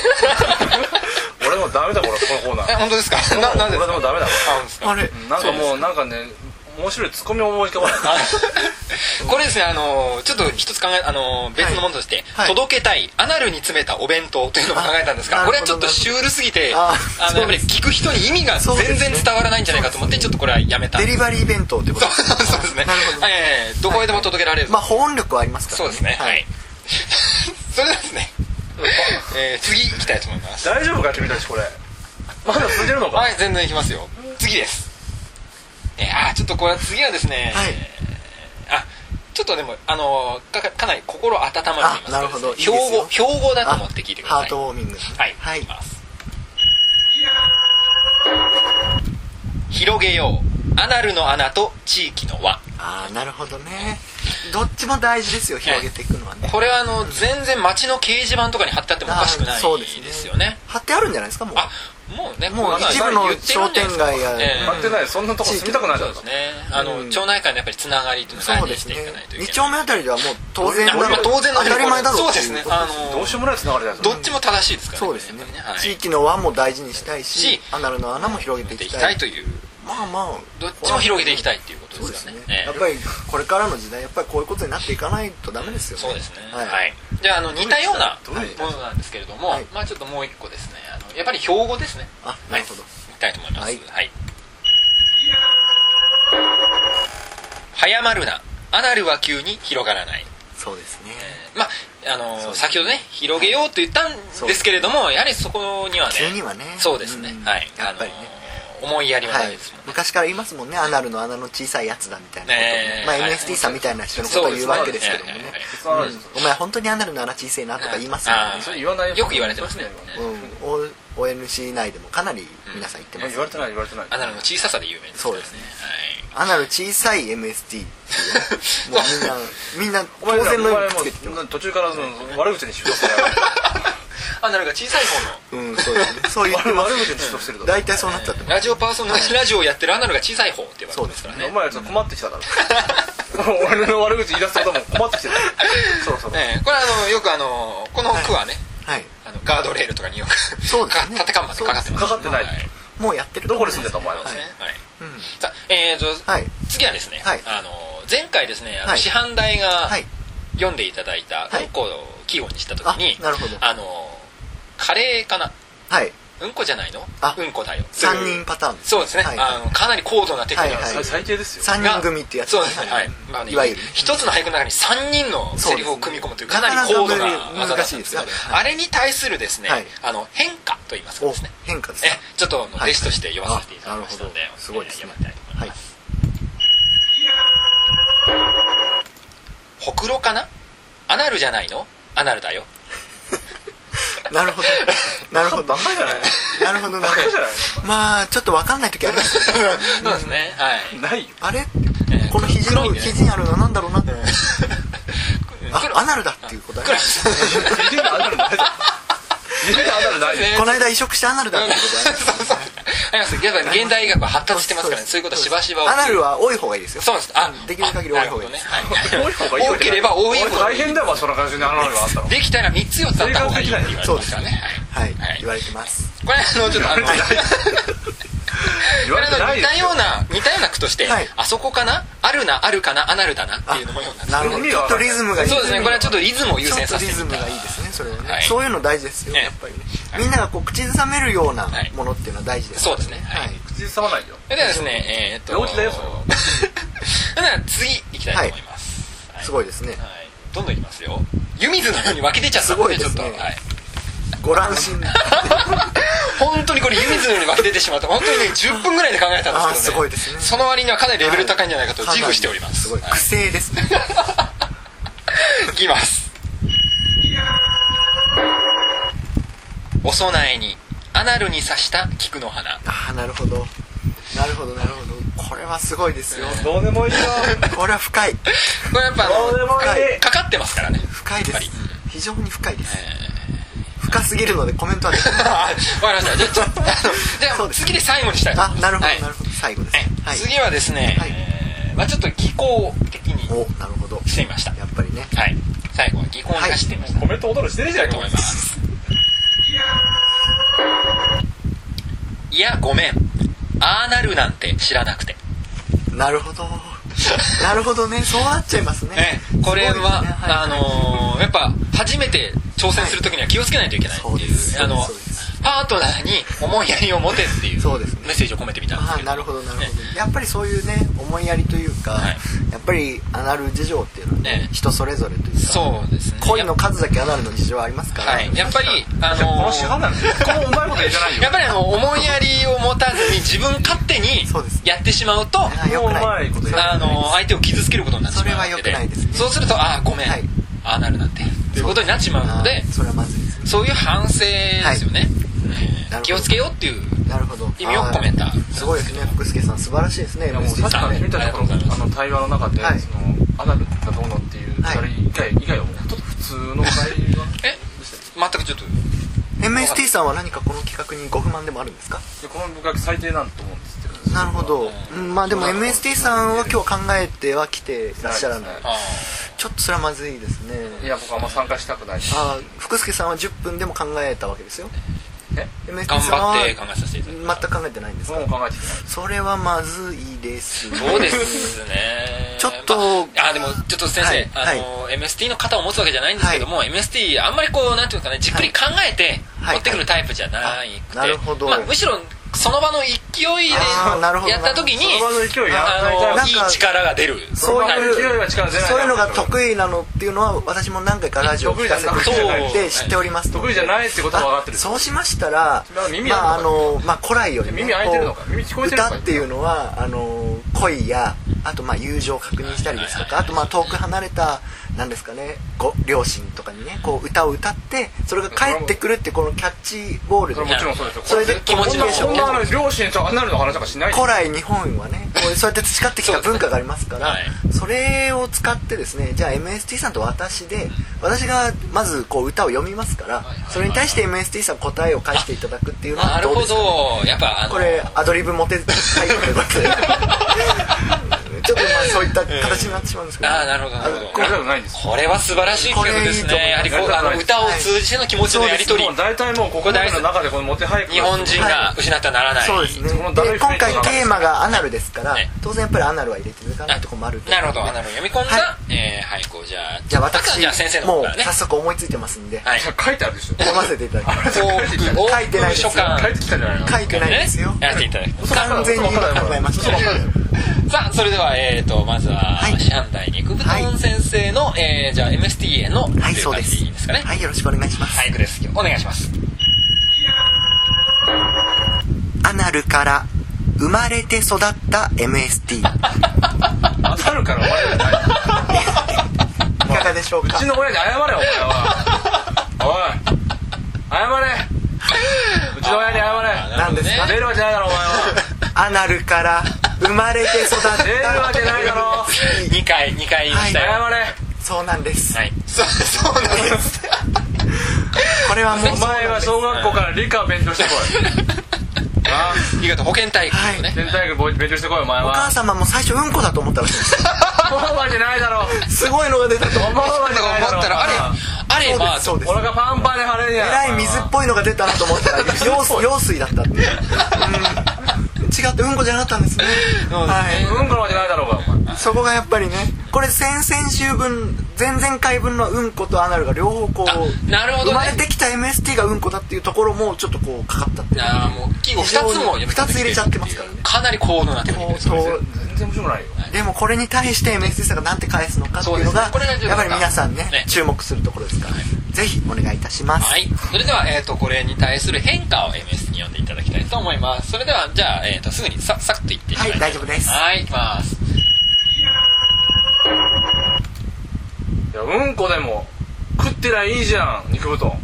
Speaker 2: 俺俺もうダメだこれこのコーナ
Speaker 1: え
Speaker 2: ー
Speaker 1: 本当ですかななんでです
Speaker 2: 俺
Speaker 1: か
Speaker 2: もうダメだ
Speaker 1: あ本当ですか
Speaker 3: あれ
Speaker 2: なんかもうなんかね面白いツッコミを思い浮かばない
Speaker 1: あ これですねあのちょっと一つ考えあの別のものとして、
Speaker 3: はい
Speaker 1: 届けたいアナルに詰めたお弁当というのも考えたんですが
Speaker 3: あ
Speaker 1: これはちょっとシュールすぎてあのやっ
Speaker 3: あそう
Speaker 1: ぱり
Speaker 3: で
Speaker 1: 聞く人に意味が
Speaker 3: そうです
Speaker 1: 全
Speaker 3: ね
Speaker 1: 然伝わらないんじゃないかと思ってちょっとこれはやめた
Speaker 3: デリバリー弁当ってこと
Speaker 1: そう
Speaker 3: ですね
Speaker 1: そうですね
Speaker 3: なるほど、
Speaker 1: ええどこへでも届けられる、
Speaker 3: まあ保温力はありますから
Speaker 1: そうですねはい、
Speaker 3: はい、
Speaker 1: それではですね、えー、次行きたいと思います
Speaker 2: 大丈夫か君たちこれまだ続いてるのか
Speaker 1: はい全然いきますよ次ですえー、あーちょっとこれは次はですね、
Speaker 3: はい
Speaker 1: えーあちょっとでもあのーかかかなり心温まると言いますか
Speaker 3: あなるほどいいです
Speaker 1: 標
Speaker 3: よ
Speaker 1: 語標語だと
Speaker 3: あ
Speaker 1: 思って聞いてくだ
Speaker 3: ハ
Speaker 1: さい
Speaker 3: ートウォーミング
Speaker 1: はい、、
Speaker 3: はいい
Speaker 1: きます広げようアナルの穴と地域の輪
Speaker 3: ああなるほどねどっちも大事ですよ広げていくのはね
Speaker 1: これはあの全然街の掲示板とかに貼ってあってもおかしくないですよね
Speaker 3: 貼ってあるんじゃないですかもう
Speaker 1: あもうね
Speaker 3: もう
Speaker 1: まあ
Speaker 2: 一部の
Speaker 1: 言ってるんじゃないですか
Speaker 3: 商店街や
Speaker 1: ええ
Speaker 2: 待ってないそんなとこ住みたくないじ
Speaker 1: そ
Speaker 2: ゃ
Speaker 1: うんですねあの、
Speaker 3: うん
Speaker 1: 町内会のやっぱりつながりというのを大
Speaker 3: そ
Speaker 1: 事
Speaker 3: うで
Speaker 1: にし
Speaker 3: す
Speaker 1: て
Speaker 3: ね
Speaker 1: いかないといけない
Speaker 3: 2丁目あたりではもう当然だ
Speaker 1: いやまあ当然
Speaker 3: 当たり前だろ
Speaker 1: そうう
Speaker 3: って
Speaker 1: で
Speaker 3: い
Speaker 1: すね
Speaker 3: こと
Speaker 1: あ
Speaker 2: どうしよ
Speaker 1: の
Speaker 2: うもないつながりだよ
Speaker 1: どっちも正しいですから
Speaker 3: そうですね
Speaker 1: やっぱりはい
Speaker 3: 地域の輪も大事にしたいし
Speaker 1: し
Speaker 3: アナルの穴も広げて
Speaker 1: やって
Speaker 3: い
Speaker 1: い
Speaker 3: き
Speaker 1: きた
Speaker 3: た
Speaker 1: い
Speaker 3: い
Speaker 1: という
Speaker 3: まあまあ
Speaker 1: どっちも広げていきた
Speaker 3: い
Speaker 1: いということ
Speaker 3: そうで
Speaker 1: です
Speaker 3: す
Speaker 1: か
Speaker 3: ね
Speaker 1: ね
Speaker 3: やっ
Speaker 1: ええ
Speaker 3: ぱりこれからの時代やっぱりこういうことになっていかないとダメですよね
Speaker 1: そうですね
Speaker 3: は
Speaker 1: はいい、じゃああの似たような
Speaker 2: どういう
Speaker 1: ものなんですけれども、
Speaker 3: はい
Speaker 1: まあちょっともう一個ですねあのやっぱり標語ですね
Speaker 3: あなるほ
Speaker 1: は
Speaker 3: ど
Speaker 1: い、いきたいと思います
Speaker 3: はい
Speaker 1: はい、早まるなアナルは急に広がらない
Speaker 3: そうですね
Speaker 1: まああの
Speaker 3: そうですね
Speaker 1: 先ほどね広げようと言ったんですけれども、やはりそこにはね
Speaker 3: 急にはね
Speaker 1: そうですね、
Speaker 3: ん
Speaker 1: はい
Speaker 3: やっぱりね
Speaker 1: あの思いやりは
Speaker 3: は
Speaker 1: ない
Speaker 3: い
Speaker 1: ですもん、ね
Speaker 3: 昔から言いますもんねアナルの穴の小さいやつだみたいな
Speaker 1: ねえ
Speaker 3: ことを
Speaker 1: は
Speaker 3: まあ
Speaker 1: い
Speaker 3: MST さんみたいな人のことを言うわけですけどもね
Speaker 1: そうですね
Speaker 2: はいはい
Speaker 3: うんお前本当にアナルの穴小さいなとか言いますよ
Speaker 1: あー
Speaker 3: ね
Speaker 2: それ言わない
Speaker 1: よく言われてますね
Speaker 3: うん、お ONC 内でもかなり皆さん言って
Speaker 2: い
Speaker 3: ま
Speaker 2: や
Speaker 3: す
Speaker 2: 言われてない言われてない
Speaker 1: アナルの小ささで有名ですからね
Speaker 3: そうですねアナル小さい MST っていうもうみんなみんな
Speaker 2: お前
Speaker 3: 当然の
Speaker 2: お
Speaker 3: よ
Speaker 2: 前
Speaker 3: うにつけてき
Speaker 2: も
Speaker 3: ま
Speaker 2: う途中からその悪口に主導してな
Speaker 1: は
Speaker 2: い
Speaker 1: いアナルが小さい方の
Speaker 3: すうんそうですねそう言ってま
Speaker 2: 悪
Speaker 3: す
Speaker 2: 口に主導してるだ
Speaker 3: 大体そうなっちゃってます
Speaker 1: ラジオパーソナリティラジオをやってるアナルが小さい方って言われてますからね
Speaker 2: ろお 前らちょっと困ってきただろ俺の悪口言い出すことも困ってきてるそろそろ
Speaker 1: ええこれはあのよくあのこの句はね、
Speaker 3: はい
Speaker 1: あのガードレールとかによく
Speaker 3: そうですね
Speaker 1: か立て看板でかかってます
Speaker 2: かかってない
Speaker 1: はい
Speaker 3: もうやってる
Speaker 2: どこに住んでたお前
Speaker 1: そう
Speaker 2: は
Speaker 1: ですねはい
Speaker 3: うん
Speaker 1: さあえーと
Speaker 3: はい
Speaker 1: 次はですね、
Speaker 3: はい
Speaker 1: あの前回ですねあの
Speaker 3: はい
Speaker 1: 師範代が
Speaker 3: はい
Speaker 1: 読んでいただいた
Speaker 3: は
Speaker 1: 文
Speaker 3: い
Speaker 1: 庫を季語にした時に、
Speaker 3: あなるほど
Speaker 1: あのカレーかな
Speaker 3: はい
Speaker 1: うんこじゃないの
Speaker 3: あ
Speaker 1: うんこだよ
Speaker 3: 3人パターンです
Speaker 1: そうですね、
Speaker 3: はい
Speaker 1: あのかなり高度なテクニック
Speaker 3: はい
Speaker 2: 最最低ですよ
Speaker 3: 3人組ってやつ
Speaker 1: そうですねはい、まあね
Speaker 3: いわゆる
Speaker 1: 一つの俳句の中に3人のセリフを組み込むというかなり高度な技だったんですよ
Speaker 3: なかなか難しいですねは
Speaker 1: あれに対するですね、
Speaker 3: はい
Speaker 1: あの変化といいますか
Speaker 3: お
Speaker 1: ですね
Speaker 3: 変化です
Speaker 1: え
Speaker 3: か
Speaker 1: ちょっとあの
Speaker 3: はい
Speaker 1: 弟子として読ませていただきましたので、
Speaker 3: あなるほどすごいですね
Speaker 1: えー読ませていただきます
Speaker 3: はい
Speaker 1: ほくろかなアナルじゃないのアナルだよ
Speaker 3: なるほどなるほど
Speaker 2: バカじゃない
Speaker 3: なるほどなる
Speaker 2: バカじゃない
Speaker 3: ほどまあちょっと分かんない時あります
Speaker 1: そうですねはい
Speaker 2: のないよ
Speaker 3: あれ
Speaker 1: えー
Speaker 3: この肘
Speaker 1: 黒い
Speaker 3: の
Speaker 1: ね
Speaker 3: 肘にあるのはなんだろうなってあ
Speaker 1: 黒
Speaker 3: アナルだっていう答え
Speaker 1: 黒いですね
Speaker 2: 家であんなのないよ家であんなのないよ
Speaker 3: この間移植してアナルだっていうこと
Speaker 1: そうそうありますやっぱり現代医学は発達してますからねそういうことしばしば
Speaker 3: アナルは多い方がいいですよ
Speaker 1: そうなんですあ
Speaker 3: できる限り多い方がいい
Speaker 1: ね
Speaker 3: で す
Speaker 2: 多い方がいいよ
Speaker 1: 多ければ多いほど
Speaker 2: 大変だわそんな感じに花があったの
Speaker 1: できたら3つ4つあった方がいいって言われますからね
Speaker 3: はい
Speaker 1: はい
Speaker 3: 言われてます
Speaker 1: これあのちょっとあの
Speaker 2: 言われて
Speaker 1: これ
Speaker 2: な
Speaker 1: あの
Speaker 2: い
Speaker 1: 似
Speaker 2: よ
Speaker 1: たような似たような句として、
Speaker 3: はい
Speaker 1: あそこかなあるなあるかなアナルだなっていうのもようなんです
Speaker 3: なるほど
Speaker 2: 意味
Speaker 3: ち
Speaker 2: が
Speaker 3: ょ
Speaker 2: わ
Speaker 3: っ
Speaker 2: か
Speaker 3: と
Speaker 2: んない
Speaker 3: リズムがいい
Speaker 1: そうですねこれはちょっとリズムを優
Speaker 3: ちょ
Speaker 1: 先
Speaker 3: っと
Speaker 1: させ
Speaker 3: リ
Speaker 1: て
Speaker 3: ズ
Speaker 1: み
Speaker 3: ム
Speaker 1: た
Speaker 3: がいいですねそれはね、
Speaker 1: はい
Speaker 3: そういうの大事ですよ
Speaker 1: ええ
Speaker 3: やっぱりね、
Speaker 1: はい
Speaker 3: みんながこう口ずさめるような
Speaker 1: はい
Speaker 3: ものっていうのは大事です、
Speaker 1: そうですねはい
Speaker 3: はい
Speaker 2: 口ずさまないよ
Speaker 1: ではですねえー、っと
Speaker 2: 病気だよそれは
Speaker 1: では次いきたいと思います、は
Speaker 3: すごいですね
Speaker 1: はい、どんどんいきますよ湯水のように湧き出ちゃった
Speaker 3: すごいですね
Speaker 1: ちょっと、はい、
Speaker 3: ご乱心
Speaker 1: 本当にこれ湯水のように湧き出てしまうと本当にね10分ぐらいで考えたんですけど、ね、
Speaker 3: あーすごいですね
Speaker 1: その割にはかなりレベル高いんじゃないかと自負しております、
Speaker 3: はいかな
Speaker 1: は
Speaker 3: りすごい癖ですね
Speaker 1: い、いきますお供えにアナルに刺した菊の花
Speaker 3: ああなるほどなるほどなるほどこれはすごいですよ
Speaker 2: どうでもいいよ
Speaker 3: これは深い
Speaker 1: これやっぱあ
Speaker 2: どうで
Speaker 1: の
Speaker 2: もいい
Speaker 1: かかってますからね
Speaker 3: 深いで
Speaker 1: やっぱり
Speaker 3: す非常に深いです深すぎるのでコメントはできない
Speaker 1: あわかりましたじゃあちょっとあのじゃ
Speaker 3: そ
Speaker 1: あ
Speaker 3: うです
Speaker 1: 次で最後にしたいと思い
Speaker 3: あ
Speaker 1: ます
Speaker 3: なるほど、
Speaker 1: はい
Speaker 3: なるほど最後です、
Speaker 1: え
Speaker 3: はい
Speaker 1: 次はですね、
Speaker 3: はい
Speaker 1: えーまあ、ちょっと技巧的に
Speaker 3: おなるほど
Speaker 1: してみました
Speaker 3: やっぱりね
Speaker 1: はい最後は技巧に走ってみました、
Speaker 2: コメント踊るしてるじゃん
Speaker 1: と思いますいやごめんああなるなんて知らなくて、
Speaker 3: なるほどなるほどねそうなっちゃいます ね
Speaker 1: ね、これは、
Speaker 3: すごいですねい
Speaker 1: あのーやっぱ初めて挑戦する時には気をつけないといけないって
Speaker 3: そう
Speaker 1: い
Speaker 3: で
Speaker 1: う,、
Speaker 3: す
Speaker 1: あの
Speaker 3: そうです
Speaker 1: パートナーに思いやりを持てっていう
Speaker 3: そうですね
Speaker 1: メッセージを込めてみたんです
Speaker 3: あ
Speaker 1: け
Speaker 3: あ
Speaker 1: ど
Speaker 3: なるほどなるほど、
Speaker 1: ね
Speaker 3: やっぱりそういうね思いやりというか、
Speaker 1: はい
Speaker 3: やっぱりアナル事情っていうのはね
Speaker 1: ね
Speaker 3: 人それぞれというか
Speaker 1: そうですね
Speaker 3: 恋の数だけアナルの事情はありますから、
Speaker 1: はい、やっぱり、あ
Speaker 2: こ
Speaker 1: の
Speaker 2: の市販なんてこのうまいこと言うじゃないよ
Speaker 1: やっぱりあの思いやりを持たずに自分勝手に
Speaker 3: そうです
Speaker 1: やってしまうと
Speaker 3: あよくな
Speaker 2: もううまい
Speaker 3: い
Speaker 2: こと言う
Speaker 1: あの相手を傷つけることになってしまうわけで
Speaker 3: それは良くないですね
Speaker 1: そうするとああごめん、
Speaker 3: はい
Speaker 1: ああなるなんてということになってしまうので
Speaker 3: あーそれはまずいですね
Speaker 1: そういう反省ですよね、えー
Speaker 3: なるほど
Speaker 1: 気をつけようっていう
Speaker 3: なるほど
Speaker 1: 意味を込めた
Speaker 3: あーすごいですね福助さん素晴らしいですね
Speaker 2: いやもう
Speaker 3: MSG
Speaker 2: 確
Speaker 3: さん
Speaker 2: かに君
Speaker 3: ね
Speaker 2: たちのこの
Speaker 1: ありがとうございま
Speaker 2: あ
Speaker 1: す
Speaker 2: の対話の中で、
Speaker 3: はい
Speaker 2: そのアナルがどうのっていう
Speaker 3: はい
Speaker 2: 2人以外,、以外はもうちょっと普通の会話
Speaker 1: え
Speaker 2: でしたよ
Speaker 1: 全くちょっと
Speaker 3: MST さんは何かこの企画にご不満でもあるんですか
Speaker 2: でこの文学最低なんと思うんですけど
Speaker 3: なるほど、うんまあでも
Speaker 2: そうなの
Speaker 3: MST さんは今日考えては来てらっしゃらない
Speaker 1: あ
Speaker 3: ちょっとそれはまずいですね
Speaker 2: いや僕はあんま参加したくないし
Speaker 3: あー福助さんは10分でも考えたわけですよ
Speaker 2: え
Speaker 3: MST
Speaker 1: ー頑
Speaker 3: さんは
Speaker 1: 張って考えさせていただきます
Speaker 3: 全く考えてないんです
Speaker 2: も
Speaker 3: か
Speaker 2: う考えてきてない
Speaker 3: それはまずいですね
Speaker 1: そうですね
Speaker 3: ちょっと
Speaker 1: まあ、あでもちょっと先生、
Speaker 3: はい
Speaker 1: あの MST の肩を持つわけじゃないんですけども、MST あんまりこうなんていうかねじっくり考えて
Speaker 3: はい
Speaker 1: 持ってくるタイプじゃないくて、
Speaker 3: あなるほど
Speaker 1: まあ、むしろその場の勢い
Speaker 3: あーなるほ
Speaker 1: で
Speaker 3: ど
Speaker 1: やった時に
Speaker 2: その場の勢いやらない
Speaker 1: あ
Speaker 2: タ
Speaker 1: の
Speaker 3: イプ
Speaker 1: いい力が出る
Speaker 3: そういう
Speaker 1: タイプ
Speaker 2: 勢いは力出ない
Speaker 3: そういうのが得意なのっていうのは私も何回かラジオを聞かせてもらって知っておりますので
Speaker 2: 得意じゃないってことは分かってる
Speaker 3: あそうしましたら
Speaker 2: まあ耳
Speaker 3: まあ
Speaker 2: あ
Speaker 3: あ
Speaker 2: るのか
Speaker 3: のまあ古来よりも
Speaker 2: 耳開いてるのか
Speaker 3: こう
Speaker 2: 耳聞こえてるのか
Speaker 3: 歌っていうのはあの恋やあとまあ友情を確認したりですとかあとまあ遠く離れたなんですかねご両親とかにねこう歌を歌ってそれが帰ってくるってこのキャッチボール
Speaker 2: そ
Speaker 3: で
Speaker 2: れもちろんそうですよ
Speaker 3: それで
Speaker 1: 気持ちの
Speaker 2: こんなこんなあの両親とアナルの話とかしないで
Speaker 3: 古来日本 はねこうそうやって培ってきた文化がありますから
Speaker 1: そうで
Speaker 3: それを使ってですねじゃあ MST さんと私で私がまずこう歌を読みますから
Speaker 1: はいはい
Speaker 3: それに対して MST さん答えを返していただくっていうの
Speaker 1: な
Speaker 3: は
Speaker 1: る
Speaker 3: どう
Speaker 1: ほ
Speaker 3: ですか
Speaker 1: どやっぱあの
Speaker 3: これアドリブモテタイプでございますちょっとまあそういった形になってしまうんですけど、
Speaker 1: あーなるほどなるほど
Speaker 2: や
Speaker 3: あの
Speaker 2: りたくないんですよ
Speaker 1: これは素晴らしい企画です
Speaker 3: これいいと思います
Speaker 1: ねやはりこうあの歌を通じての気持ちのやり取り
Speaker 2: もう大体もうここまでの中でこのモテ俳句
Speaker 1: 日本人が失ってはならない
Speaker 3: そうですねで
Speaker 2: そのダブルフェイ
Speaker 3: 今
Speaker 2: クが
Speaker 3: 回テーマがアナルですから、
Speaker 1: ね
Speaker 3: 当然やっぱりアナルは入れていかないとこもあると
Speaker 1: なるほどアナルを読み込んだ
Speaker 3: は
Speaker 1: えーはいこうじゃあ
Speaker 3: じゃあ
Speaker 1: まずは
Speaker 3: 私
Speaker 1: じゃあ先生の
Speaker 3: も
Speaker 1: 方
Speaker 3: う
Speaker 1: からね
Speaker 3: 早速思いついてますんで、
Speaker 1: はい
Speaker 2: 書いてあるでしょ
Speaker 3: 読ませていただきます
Speaker 1: 幸福
Speaker 3: 書いてないですよ
Speaker 1: 書簡
Speaker 2: 書いてきたじゃないの
Speaker 3: 書いてないですよ
Speaker 1: ねやっていただきます
Speaker 2: 嘘
Speaker 1: さ
Speaker 2: だ
Speaker 3: 完全に今考えました
Speaker 1: あさあそれではえーとまずは
Speaker 3: はい
Speaker 1: シャンダイ肉豚丼先生のえーじゃあ MSTA のって
Speaker 3: はい
Speaker 1: いう
Speaker 3: そう
Speaker 1: 感
Speaker 3: で
Speaker 1: じ
Speaker 3: す
Speaker 1: でいいですかね
Speaker 3: はいよろしくお願いします、
Speaker 1: 俳句ですお願いします
Speaker 3: アナルから生まれて育った MST い
Speaker 2: 当たるからお前らじゃない
Speaker 3: かがでしょう
Speaker 2: う
Speaker 3: か
Speaker 2: ちの親に謝れお前はおい謝れうちの親に謝れ
Speaker 3: 何ですか
Speaker 2: 出るわけじゃないだろお前は
Speaker 3: アナルから生まれて育った
Speaker 2: 出るわけないだろ
Speaker 1: 2回2回にしたよ
Speaker 2: 謝れ
Speaker 3: そうなんです、
Speaker 1: はいそうそうなんです
Speaker 3: これはもう
Speaker 2: お前は小学校から理科を勉強してこいああ
Speaker 1: 新潟保健体育ですね
Speaker 2: 全体学勉強してこいお前
Speaker 3: お母
Speaker 2: は
Speaker 3: 様も最初うんこだと思ったらしいです
Speaker 2: 思うわけないだろ
Speaker 3: すごいのが出たと
Speaker 2: 思うわけ
Speaker 1: だ
Speaker 2: ない
Speaker 1: から
Speaker 2: だろ
Speaker 1: 思ったらあれあれまあ
Speaker 3: そうですそう
Speaker 2: 俺
Speaker 3: です
Speaker 2: がパンパンで晴れるやん
Speaker 3: えらい水っぽいのが出たなと思ったら用水用水だったっていう、うん、違ってうんこじゃなかったんですね
Speaker 1: そうですね
Speaker 3: は
Speaker 2: うんこのわけないだろうがお前
Speaker 3: い、そこがやっぱりねこれ先々週分前々回分のうんことアナルが両方こう
Speaker 1: なるほどね
Speaker 3: 生まれてきた MST がうんこだっていうところもちょっとこうかかったっていう
Speaker 1: ああもう季語2つも読み込んでき
Speaker 3: 二つ入れちゃってますからね
Speaker 1: かなり高度なテクニック
Speaker 3: こ
Speaker 1: で
Speaker 3: う
Speaker 1: すね
Speaker 3: そう
Speaker 2: 全然面白くないよ
Speaker 3: でもこれに対して MST さんが何て返すのかっていうのが
Speaker 1: そうですねこれが重要
Speaker 3: やっぱり皆さんね
Speaker 1: ね
Speaker 3: 注目するところですからぜひお願いいたします
Speaker 1: はいそれでは、えー、とこれに対する変化を MS に読んでいただきたいと思いますそれではじゃあ、えー、とすぐにさサクッと言っていただいて
Speaker 3: はい大丈夫です
Speaker 1: はいいきます
Speaker 2: いやうんこでも食ってりゃいいじゃん肉布団好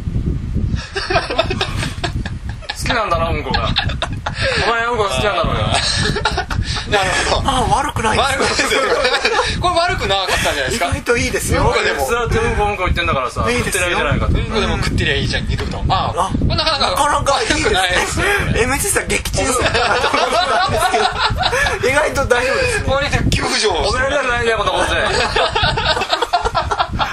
Speaker 2: きなんだなうんこがお前うんこが好きなんだろうよ
Speaker 1: なるほど
Speaker 3: ああ悪くな い
Speaker 1: 悪くない
Speaker 3: で
Speaker 1: ですすよこれ悪くなかったんじゃないです
Speaker 3: 意
Speaker 1: か
Speaker 3: 外といいですよ
Speaker 2: 僕でもずらっとうんこうんこ言ってんだからさ
Speaker 3: いい
Speaker 2: 食っ
Speaker 3: です
Speaker 2: て
Speaker 3: よ
Speaker 2: りゃいいじゃないかと
Speaker 1: うんこでも食ってりゃいいじゃん肉布団ああ
Speaker 3: あ
Speaker 1: これなかなか
Speaker 3: なかなかい
Speaker 1: 悪
Speaker 3: いです
Speaker 1: くないですね
Speaker 3: ね MST さん撃沈するかなと思ったんですけど意外と大丈夫ですね
Speaker 1: これで救助をし
Speaker 2: 褒
Speaker 1: て
Speaker 2: められたくないんだよこんなことで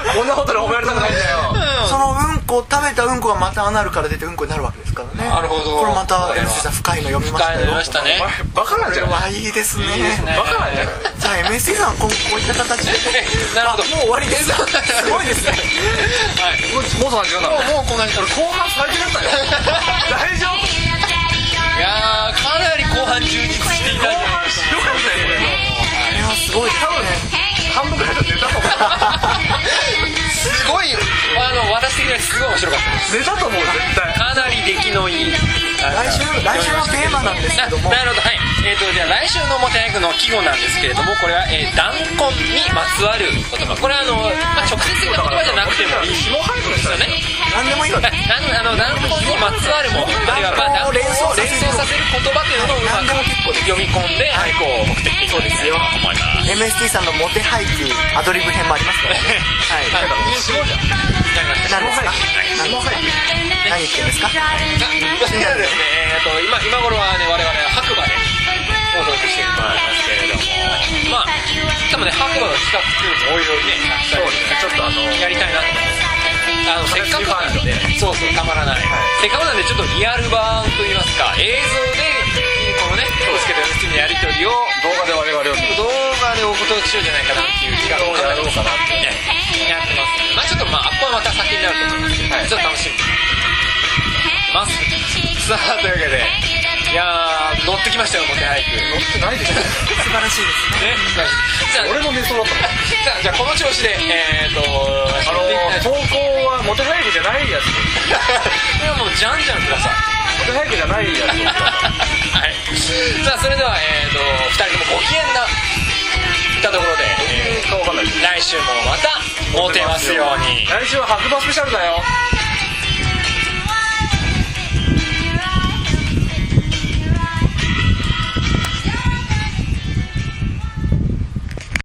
Speaker 2: こんなことで褒められたくないんだよ
Speaker 3: そのうんこ食べたうんこがまたアナルから出てうんこになるわけですからね
Speaker 1: なるほど
Speaker 3: これまた MST さん深いの読みましたよ
Speaker 1: 深いの読みましたね
Speaker 2: お前バカなん
Speaker 3: こ
Speaker 2: じ
Speaker 3: れ
Speaker 2: ゃんバ
Speaker 3: はいいですね
Speaker 1: いいですね
Speaker 2: カなんじゃん
Speaker 3: じゃあ MST さん今後こういった形で
Speaker 1: なるほど
Speaker 3: あもう終わり ですすごいですね
Speaker 1: はい
Speaker 2: もう3時間だ
Speaker 1: もうこんなにい
Speaker 2: 後半最低だったよ大 丈夫
Speaker 1: やーかなり後半充実していた
Speaker 2: 後
Speaker 1: だいて
Speaker 2: 半しよかったよこれ
Speaker 3: あれはすごいですね
Speaker 2: 半分くらいだったネタと思
Speaker 1: すごいあの私的にはすごい面白かったで
Speaker 2: うネタと思う絶対
Speaker 1: すかなり出来のいい
Speaker 3: 来週来週のテーマなんですけども
Speaker 1: なるほどはいえー、とじゃあ来週の表役の季語なんですけれどもこれは、えー、弾痕にまつわる言葉これはあの、まあ、直接的な言葉じゃなくてもいい
Speaker 2: 下半分した
Speaker 1: よね
Speaker 2: ね
Speaker 3: 何でもいい
Speaker 1: あ
Speaker 3: ので
Speaker 1: あの弾痕にまつわるものあるいはまあ弾痕を連想させる言葉というのをうま
Speaker 3: 何でも
Speaker 1: く
Speaker 3: 結構
Speaker 1: 読み
Speaker 3: です
Speaker 1: 込んで、はい、こう目的的にですよと思います
Speaker 3: MST さんのモテ俳句アドリブ編もありますからねは い
Speaker 1: すごいじゃん
Speaker 3: 何ですか
Speaker 2: 下半分
Speaker 3: 何言ってんですか
Speaker 1: そしてですね、えー、と今今頃はね我々白馬で放送していると思いますけれどもまあ多分ね白馬の企画っていうのもおいおいね
Speaker 2: そうですねちょっとあの
Speaker 1: やりたいなと思いますあのせっかくなんで
Speaker 2: 楽
Speaker 1: そうそうたまらない、せっかくなんでちょっとリアル版といいますか映像でこのね京介と義経のやり取りを
Speaker 2: 動画で我々を見る
Speaker 1: 動画でお届けしようじゃないかなっていう企画を
Speaker 2: やろうかなって
Speaker 1: ねやってますねまあちょっとまあアップはまた先になると思いますけど、ちょっと楽しみにしてますさあというわけでいやー乗ってきましたよモテ俳句ね
Speaker 2: ないでしょ
Speaker 3: 素晴らしいですね
Speaker 1: じゃあ
Speaker 2: 俺も寝そうだったもん
Speaker 1: じゃあじゃあこの調子でえーと
Speaker 2: あのー投稿はモテ俳句じゃないやつ
Speaker 1: これはもうじゃんじゃんください
Speaker 2: モテ俳句じゃないや
Speaker 1: はい、さあそれでは、えー、と2人ともご機嫌なったところで、え
Speaker 2: つわかんない
Speaker 1: ー来週もまたモテますように
Speaker 2: 来週は白馬スペシャルだよ